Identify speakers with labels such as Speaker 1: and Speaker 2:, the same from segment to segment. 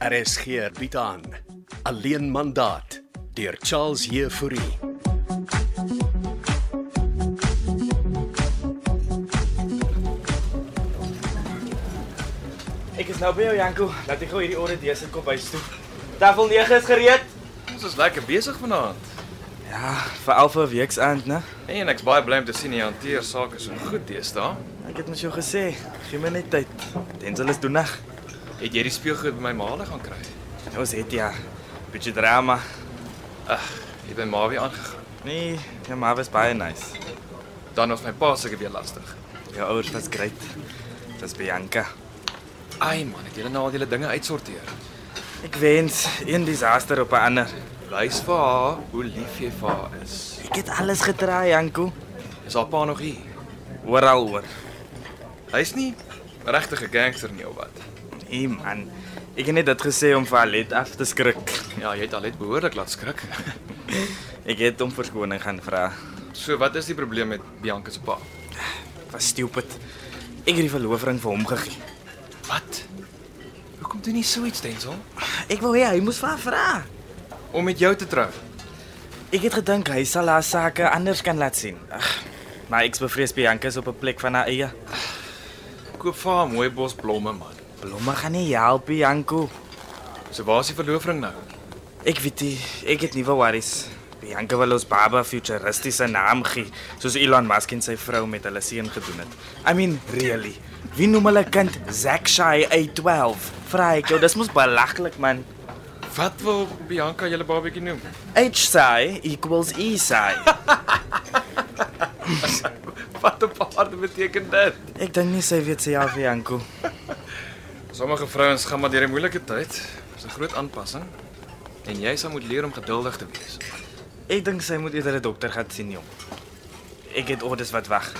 Speaker 1: RSG bied aan Alleen mandaat deur Charles Heffouri.
Speaker 2: Ek is nou by jou Janko. Laat ek gou hierdie orde deursit kom by stoep. Tafel 9 is gereed.
Speaker 3: Ons is lekker besig vanaand.
Speaker 2: Ja, vir Alfa weeks aand, né?
Speaker 3: En ek's baie bly om te sien jy hanteer sake so goed deesdae.
Speaker 2: Ek het mos jou gesê, gee my net tyd. Denzel is doenig.
Speaker 3: Het jy die speelgoed by my maale gaan kry?
Speaker 2: Ons het ja, bietjie drama.
Speaker 3: Ag, jy het by ma weer aangegaan.
Speaker 2: Nee, ja, maar was baie nice.
Speaker 3: Dan was my pa seker weer lastig.
Speaker 2: Jou ouers was great. Dis Bianca.
Speaker 3: Ai man, het julle nou al julle dinge uitsorteer.
Speaker 2: Ek wens een disaster op 'n ander.
Speaker 3: Wys vir haar hoe lief jy vir haar is.
Speaker 2: Ek het alles getraai, Janko.
Speaker 3: Is haar pa nog hier?
Speaker 2: Oral oor.
Speaker 3: Hy's nie regtig 'n gangster nie of wat.
Speaker 2: Nee man, ek het net dit gesê om vir Alet af te skrik.
Speaker 3: Ja, jy het al net behoorlik laat skrik.
Speaker 2: Ek het hom verskoning gaan vra.
Speaker 3: so wat is die probleem met Bianca se pa?
Speaker 2: Was stupid. Ek het die verloofring vir hom gegee.
Speaker 3: Wat? Hoekom doen jy so iets, Denzel?
Speaker 2: Ek wou hê hy moes vir haar vra.
Speaker 3: Om met jou te trou.
Speaker 2: Ek het gedink hy sal haar sake anders kan laat sien. Ag, maar ek is bevrees Bianca is op 'n plek van haar eie.
Speaker 3: Koop vir haar 'n mooi bos blomme, man.
Speaker 2: Blomme gaan nie help Bianco.
Speaker 3: So waar is die verloofring nou?
Speaker 2: Ek weet nie, ek het nuwe worries. Bianca wil ons baba futuristiese naam gee, soos Elon Musk en sy vrou met hulle seun gedoen het. I mean, really. Wie noem hulle kind Zackshire A12? Vra ek jou, dis mos belaglik man.
Speaker 3: Wat wil Bianca julle babatjie noem?
Speaker 2: H-sai equals E-sai.
Speaker 3: Wat 'n paarde beteken dit?
Speaker 2: Ek dink nie sy weet sy ja vir Bianco.
Speaker 3: Sommige vrouens gaan maar deur 'n moeilike tyd. Dis 'n groot aanpassing. En jy sal moet leer om geduldig te wees.
Speaker 2: Ek dink sy moet eerder 'n dokter gaan sien, jong. Ek het orders wat wag.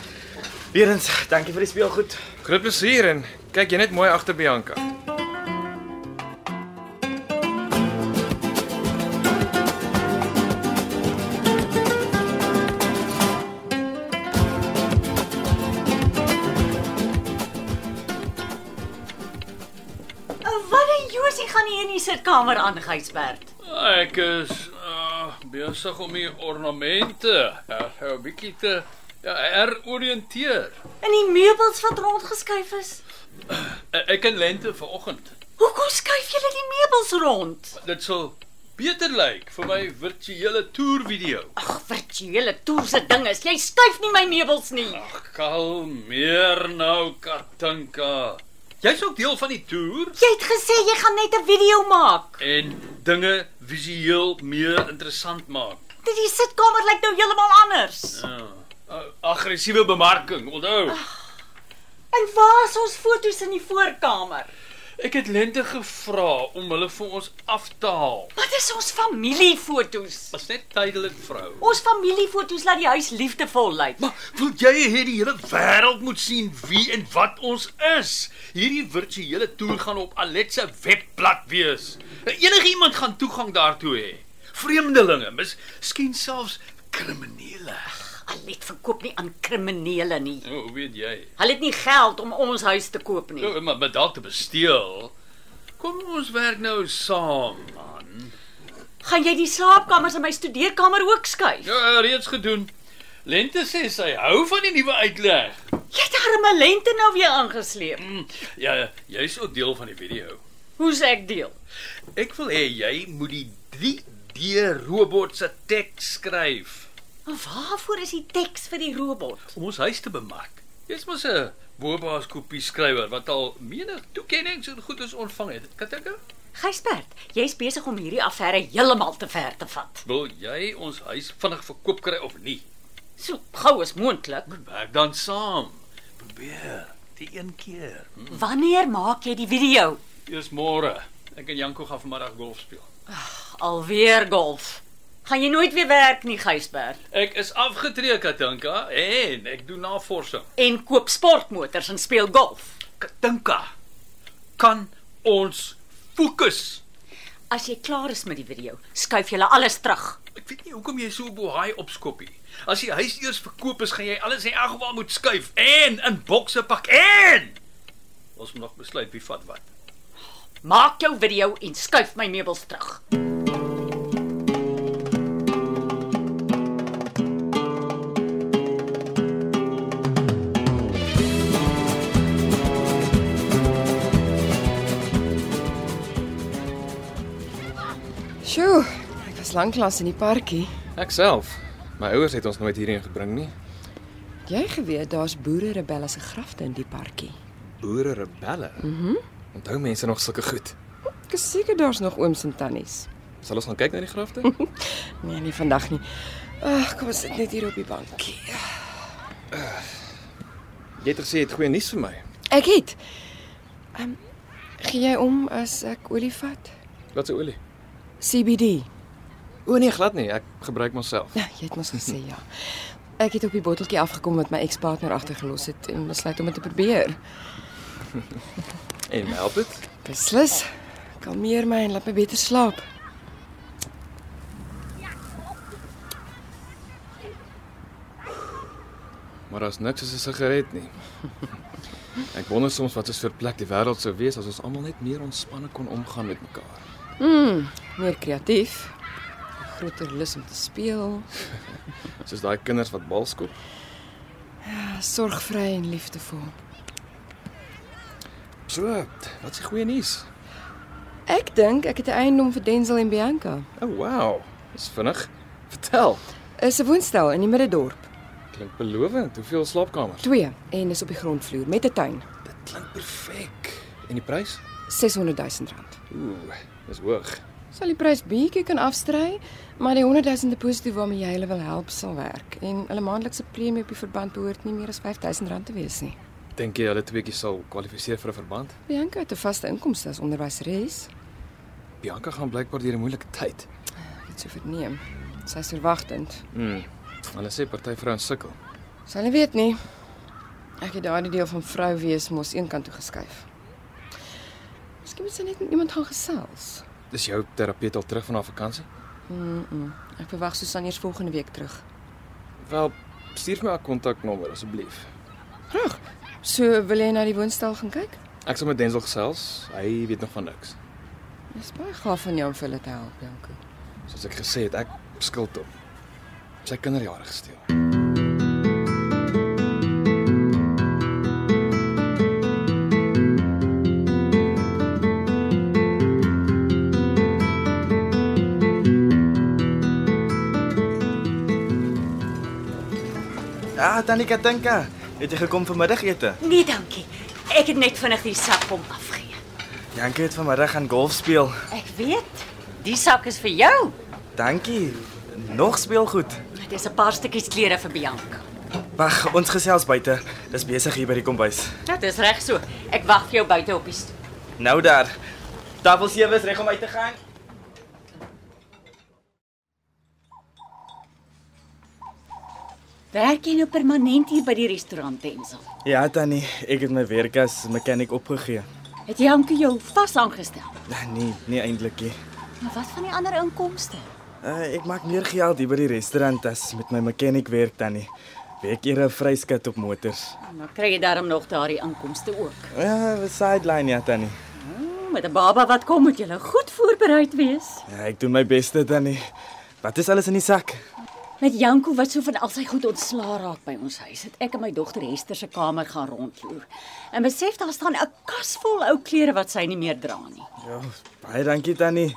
Speaker 2: Weerens, dankie vir die speelgoed.
Speaker 3: Groot plesier en kyk jy net mooi agter Bianca.
Speaker 4: Wanneer Josie gaan nie in die sitkamer aan Gysbert.
Speaker 5: Ek is uh, besig om die ornamente uh, 'n bietjie te ja, heroriënteer.
Speaker 4: In die meubels wat rondgeskuif is.
Speaker 5: Uh, ek in lente vanoggend.
Speaker 4: Hoekom skuif julle die meubels rond?
Speaker 5: Dit sal beter lyk vir my virtuele toervideo.
Speaker 4: Ag, virtuele toer se ding is, jy skuif nie my meubels nie.
Speaker 5: Ag, kalmeer nou, Katinka. Jy's ook deel van die toer
Speaker 4: Jy het gesê jy gaan net 'n video maak.
Speaker 5: en dinge visueel meer interessant maak.
Speaker 4: Dit die sitkamer lyk nou heeltemal anders.
Speaker 5: Uh, uh, aggressiewe bemarking, onthou.
Speaker 4: En waar is ons foto's in die voorkamer?
Speaker 5: Ek het lente gevra om hulle vir ons af te haal.
Speaker 4: Wat is ons familiefoto's?
Speaker 5: Was net tydelik, vrou.
Speaker 4: Ons familiefoto's laat die huis liefdevol lyk.
Speaker 5: Maar wil jy hê die hele wêreld moet sien wie en wat ons is? Hierdie virtuele toer gaan op Alet se webblad wees. Enige iemand gaan toegang daartoe hê. Vreemdelinge, miskien selfs kriminele.
Speaker 4: Alet verkoop nie aan kriminele nie.
Speaker 5: Nou, hoe weet jy?
Speaker 4: Hulle het nie geld om ons huis te koop nie.
Speaker 5: Nou, maar met dalk te besteel. Kom ons werk nou saam, man.
Speaker 4: Gaan jy die slaapkamers en my studeerkamer ook skuif?
Speaker 5: Ja, reeds gedoen. Lente sê sy hou van die nuwe uitleg.
Speaker 4: Jy het darem 'n lente nou weer aangesleep.
Speaker 5: Hm, Ja, jy's ook deel van die video.
Speaker 4: Hoe's ek deel?
Speaker 5: Ek wil hê jy moet die 3D robot se teks skryf
Speaker 4: Maar waarvoor is die teks vir die robot?
Speaker 5: om ons huis te bemark. Jy's mos 'n Boba's kopie skrywer wat al menig toekennings en goed is ontvang het. Kan ek?
Speaker 4: Gysbert, jy's besig om hierdie affære heeltemal te ver te vat.
Speaker 5: Wil jy ons huis vinnig verkoop kry of nie?
Speaker 4: So gou as moontlik.
Speaker 5: Werk dan saam. Probeer die een keer. Hm?
Speaker 4: Wanneer maak jy die video?
Speaker 5: Eers môre. Ek en Janko gaan vanmiddag golf speel.
Speaker 4: Alweer golf. Gaan jy nooit weer werk nie, Gysbert?
Speaker 5: Ek is afgetree, Katinka, en ek doen navorsing.
Speaker 4: En koop sportmotors en speel golf.
Speaker 5: Katinka, kan ons fokus?
Speaker 4: As jy klaar is met die video, skuif jy alles terug.
Speaker 5: Ek weet nie hoekom jy so bohaai opskoppie. As die huis eers verkoop is, gaan jy alles in elk geval moet skuif en in bokse pak en ons moet nog besluit wie vat wat.
Speaker 4: Maak jou video en skuif my meubels terug.
Speaker 6: Sjoe, ek was lanklaas in die parkie.
Speaker 3: Ek self. My ouers het ons nooit hierheen gebring nie.
Speaker 6: Het Jy geweet daar's boere rebelle se grafte in die parkie.
Speaker 3: Boere rebelle. Mhm. Mm Onthou mense nog sulke goed.
Speaker 6: Ek is seker daar's nog ooms en tannies.
Speaker 3: Sal ons gaan kyk na die grafte?
Speaker 6: Nee, nie vandag nie. Ag, kom ons sit net hier op die bankie.
Speaker 3: Jy het gesê jy het goeie nuus vir my.
Speaker 6: Ek het. Ehm um, gee jy om as ek olie vat?
Speaker 3: Wat se olie?
Speaker 6: CBD.
Speaker 3: O nee, glad nie. Ek gebruik myself.
Speaker 6: Ja, jy het mos gesê ja. Ek het op die botteltjie afgekom wat my ekspartner agtergelos het en besluit om dit te probeer.
Speaker 3: En help dit?
Speaker 6: Beslis. Kalmeer my en laat my beter slaap.
Speaker 3: Maar daar's niks soos 'n sigaret nie. Ek wonder soms wat is vir plek die wêreld sou wees as ons almal net meer ontspanne kon omgaan met mekaar.
Speaker 6: Meer kreatief. Groter lus om te speel.
Speaker 3: Soos daai kinders wat bal skop.
Speaker 6: Ja, Sorgvry en liefdevol.
Speaker 3: So, wat is die goeie nuus?
Speaker 6: Ek dink ek het 'n eiendom vir Denzel en Bianca.
Speaker 3: O oh, wow, dis vinnig. Vertel.
Speaker 6: Is 'n woonstel in die middedorp.
Speaker 3: Klink belovend. Hoeveel slaapkamers?
Speaker 6: 2 en is op die grondvloer met 'n tuin.
Speaker 3: Dit klink perfek. En die prys?
Speaker 6: 600 000 rand.
Speaker 3: Ooh, dis hoog.
Speaker 6: Sal die prys bietjie kan afstry, maar die 100 000 deposito waarmee jy hulle wil help sal werk en hulle maandelikse premie op die verband behoort nie meer as 5000 rand te wees nie.
Speaker 3: Dink jy hulle tweeetjie sal kwalifiseer vir 'n verband?
Speaker 6: Bianca het 'n vaste inkomste as onderwyseres.
Speaker 3: Bianca gaan blykbaar deur 'n moeilike tyd.
Speaker 6: Dit sou verneem. Sy is verwagtend.
Speaker 3: Mm. Hulle sê party vrouens sukkel.
Speaker 6: Sy hulle weet nie. Ek het daardie deel van vrou wees mos eenkant toe geskuif. Miskien moet sy net met iemand gaan gesels.
Speaker 3: Dis jou terapeut al terug van haar vakansie?
Speaker 6: Ek verwag Susan eers volgende week terug.
Speaker 3: Wel, stuur vir my haar kontaknommer asseblief.
Speaker 6: Reg. So wil jy na die woonstel gaan kyk?
Speaker 3: Ek sal met Denzel gesels. Hy weet nog van niks.
Speaker 6: Dis baie gaaf van jou om vir hulle te help, Bianca.
Speaker 3: Soos ek gesê het, ek skuld hom. Sy kinderjare gesteel.
Speaker 2: Ah, tannie Katinka, het jy gekom vir middagete?
Speaker 4: Nee, dankie. Ek het net vinnig die sak kom afgee.
Speaker 2: Jankie het vanmiddag gaan golf speel.
Speaker 4: Ek weet, die sak is vir jou.
Speaker 2: Dankie. Nog speel goed.
Speaker 4: Dit is 'n paar stukkies klere vir Bianca.
Speaker 2: Wag, ons gesels buite. Dis besig hier by die kombuis.
Speaker 4: Dit is reg so. Ek wag vir jou buite op die stoep.
Speaker 2: Nou daar. Tafel 7 is reg om uit te gaan.
Speaker 4: Werk jy nou permanent hier by die restaurant Tensel?
Speaker 2: Ja, tannie, ek het my werk as mechanic opgegee.
Speaker 4: Het jy hom jou vas aangestel?
Speaker 2: Nee, nie eintlik nie.
Speaker 4: Maar wat van die ander inkomste?
Speaker 2: Uh, ek maak meer geld hier by die restaurant as met my mechanic werk tannie. Werk eer 'n vryskut op motors.
Speaker 4: Dan Nou kry jy daarom nog daardie inkomste ook.
Speaker 2: Ja, uh, sideline ja tannie.
Speaker 4: Hmm, Met 'n baba wat kom moet jy nou goed voorberei wees.
Speaker 2: Ja, ek doen my beste tannie. Wat is alles in die sak?
Speaker 4: Met Janko wat so van al sy goed ontslaa raak by ons huis, het ek en my dogter Hester se kamer gaan rondloer. En besef daar staan 'n kas vol ou klere wat sy nie meer dra nie.
Speaker 2: Ja, baie dankie tannie.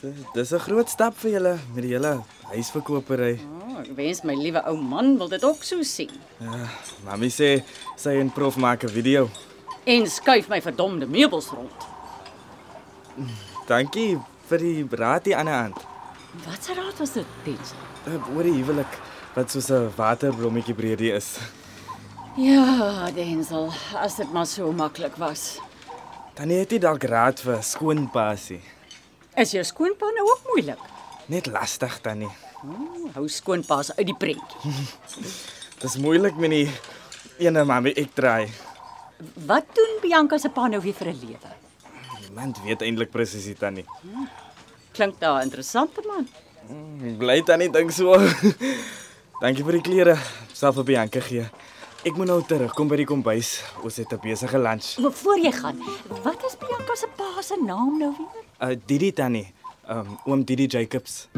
Speaker 2: D- Dis 'n groot stap vir julle met die hele huisverkopery.
Speaker 4: Oh, ek wens my liewe ou man wil dit ook so sien.
Speaker 2: Ja, Mamy sê sy en prof maak 'n video.
Speaker 4: En skuif my verdomde meubels rond.
Speaker 2: Dankie vir die raad hier aan die ander hand.
Speaker 4: Wat se raad was dit, Tens?
Speaker 2: Uh, oor die huwelik wat soos 'n waterblommetjie breedie is.
Speaker 4: Ja, Denzel, as dit maar so maklik was.
Speaker 2: Tannie het nie dalk raad vir skoon passie.
Speaker 4: Is jou skoonpa nou ook moeilik?
Speaker 2: Net lastig tannie.
Speaker 4: Oh, hou skoonpaas uit die prentjie.
Speaker 2: Dis moeilik met die ene mami ek draai.
Speaker 4: Wat doen Bianca se pa nou weer vir 'n lewe?
Speaker 2: Niemand weet eintlik presies dit tannie.
Speaker 4: Klink daar interessante man.
Speaker 2: Bly tannie dink so. Dankie vir die klere, self op Bianca gee. Ek moet nou terugkom by die kombuis. Ons het 'n besige lunch.
Speaker 4: Maar voor jy gaan, wat is Bianca se pa se naam nou weer?
Speaker 2: Uh Didi tannie. Um oom Didi Jacobs.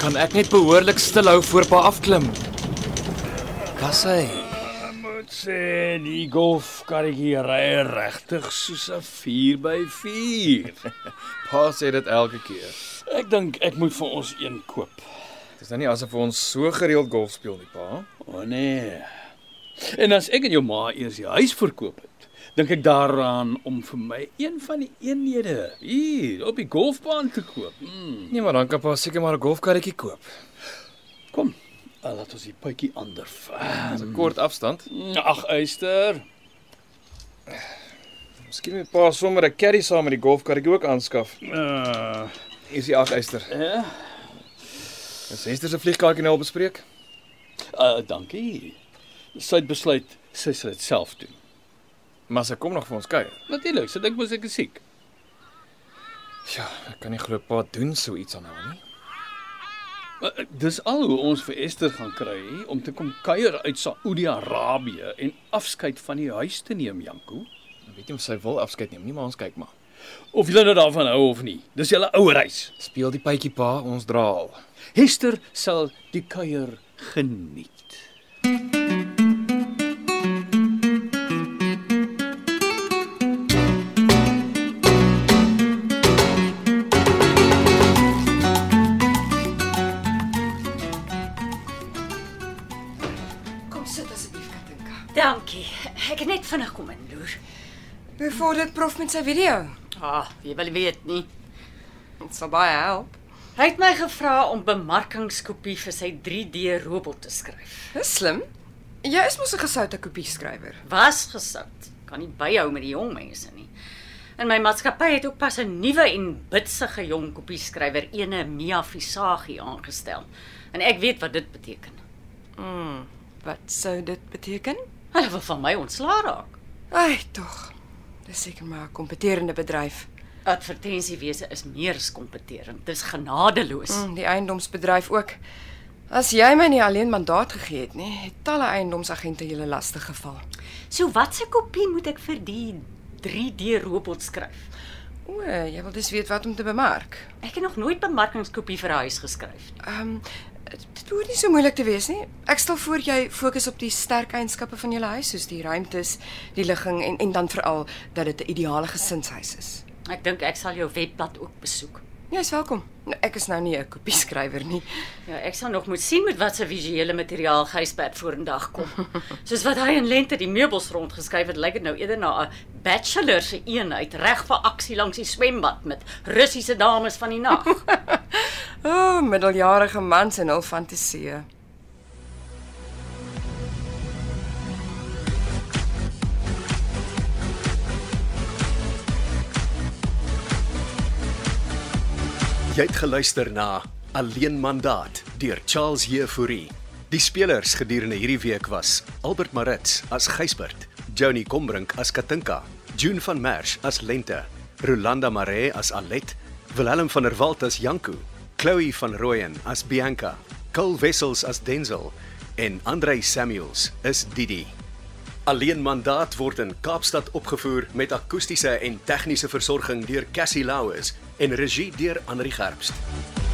Speaker 7: Kan ek net behoorlik stilhou voor pa afklim? Was hy?
Speaker 5: Moet sê die golfkarretjie ry regtig soos 'n 4x4.
Speaker 3: Pa sê dit elke keer.
Speaker 5: Ek dink ek moet vir ons een koop.
Speaker 3: Dit is nou nie asof ons so gereeld golf speel nie, pa.
Speaker 5: O oh, nee. En as ek en jou ma eers die huis verkoop het, dink ek daaraan om vir my een van die eenhede hier op die golfbaan te koop. Mm.
Speaker 3: Nee, maar dan kan pa seker maar 'n golfkarretjie koop.
Speaker 5: Kom, eh, laat ons die potjie ander vat.
Speaker 3: Dis 'n kort afstand.
Speaker 5: Mm, Ag, uister.
Speaker 3: Miskien moet pa sommer 'n caddy saam met die golfkarretjie ook aanskaf.
Speaker 5: Uh,
Speaker 3: Hier is die aguister.
Speaker 5: eh,
Speaker 3: Is Hester se vliegkaartjie nou al bespreek?
Speaker 5: uh, dankie. Sy het besluit sy sal dit self doen.
Speaker 3: Maar sy kom nog vir ons kuier.
Speaker 5: Natuurlik, sy dink mos ek is siek.
Speaker 3: Ja, ek kan nie glo pa doen so iets aan haar nie.
Speaker 5: Maar, eh, Dis al hoe ons vir Esther gaan kry om te kom kuier uit Saoedi-Arabië en afskeid van die huis te neem, Janko.
Speaker 3: Ek weet nie of sy wil afskeid neem nie, maar ons kyk maar.
Speaker 5: Of jy nou daarvan hou of nie. Dis julle ou reis.
Speaker 3: Speel die pytjie pa, ons dra al.
Speaker 5: Hester sal die kuier geniet.
Speaker 6: Kom sit asseblief, Katinka.
Speaker 4: Dankie. Ek het net vinnig kom inloer.
Speaker 6: Hoe vorder prof met sy video?
Speaker 4: Ah, jy wil weet nie.
Speaker 6: Dit sal baie help.
Speaker 4: Hy het my gevra om bemarkingskopie vir sy 3D robot te skryf.
Speaker 6: Dis slim. Jy is mos 'n gesoute kopie skrywer.
Speaker 4: Was gesout. Kan nie byhou met die jong mense nie. In my maatskappy het ook pas 'n nuwe en bitsige jong kopieskrywer, ene Mia Visagie aangestel. En ek weet wat dit beteken.
Speaker 6: Mm, Wat sou dit beteken?
Speaker 4: Hulle wil van my ontslaa raak.
Speaker 6: Ai, tog. Dis seker maar 'n kompeterende bedryf.
Speaker 4: Advertensiewese is meer as kompeterend. Dis genadeloos.
Speaker 6: Mm, die eiendomsbedryf ook. As jy my nie alleen mandaat gegee het nie, het talle eiendomsagente julle lastig geval.
Speaker 4: So watse kopie moet ek vir die 3D robot skryf?
Speaker 6: O, jy wil dus weet wat om te bemark.
Speaker 4: Ek het nog nooit bemarkingskopie vir 'n huis geskryf nie.
Speaker 6: Ehm um, dit hoort nie so moeilik te wees nie. Ek stel voor jy fokus op die sterk eienskappe van julle huis, soos die ruimtes, die ligging en en dan veral dat dit 'n ideale gesinshuis is.
Speaker 4: Ek dink ek sal jou webblad ook besoek.
Speaker 6: Jy's welkom. Nou, Ek is nou nie 'n kopie skrywer nie.
Speaker 4: Ja, ek sal nog moet sien met watter visuele materiaal Gysbert vorendag kom. Soos wat hy in lente die meubels rondgeskuif het, lyk dit nou eerder na 'n bachelor se een uit reg vir aksie langs die swembad met Russiese dames van die nag.
Speaker 6: O, oh, middeljarige mans en hul fantasieë.
Speaker 1: Jy het geluister na Alleen Mandaat deur Charles Heffouri. Die spelers gedurende hierdie week was Albert Maritz as Gysbert, Johnny Combrink as Katinka, June van Merwe as Lente, Rolanda Maree as Alet, Willem van der Walt as Janku, Chloe van Rooyen as Bianca, Kul Wessels as Denzel en Andrei Samuels as Didi. Alleen Mandaat word in Kaapstad opgevoer met akoestiese en tegniese versorging deur Cassie Louws en regie deur Henri Gerst.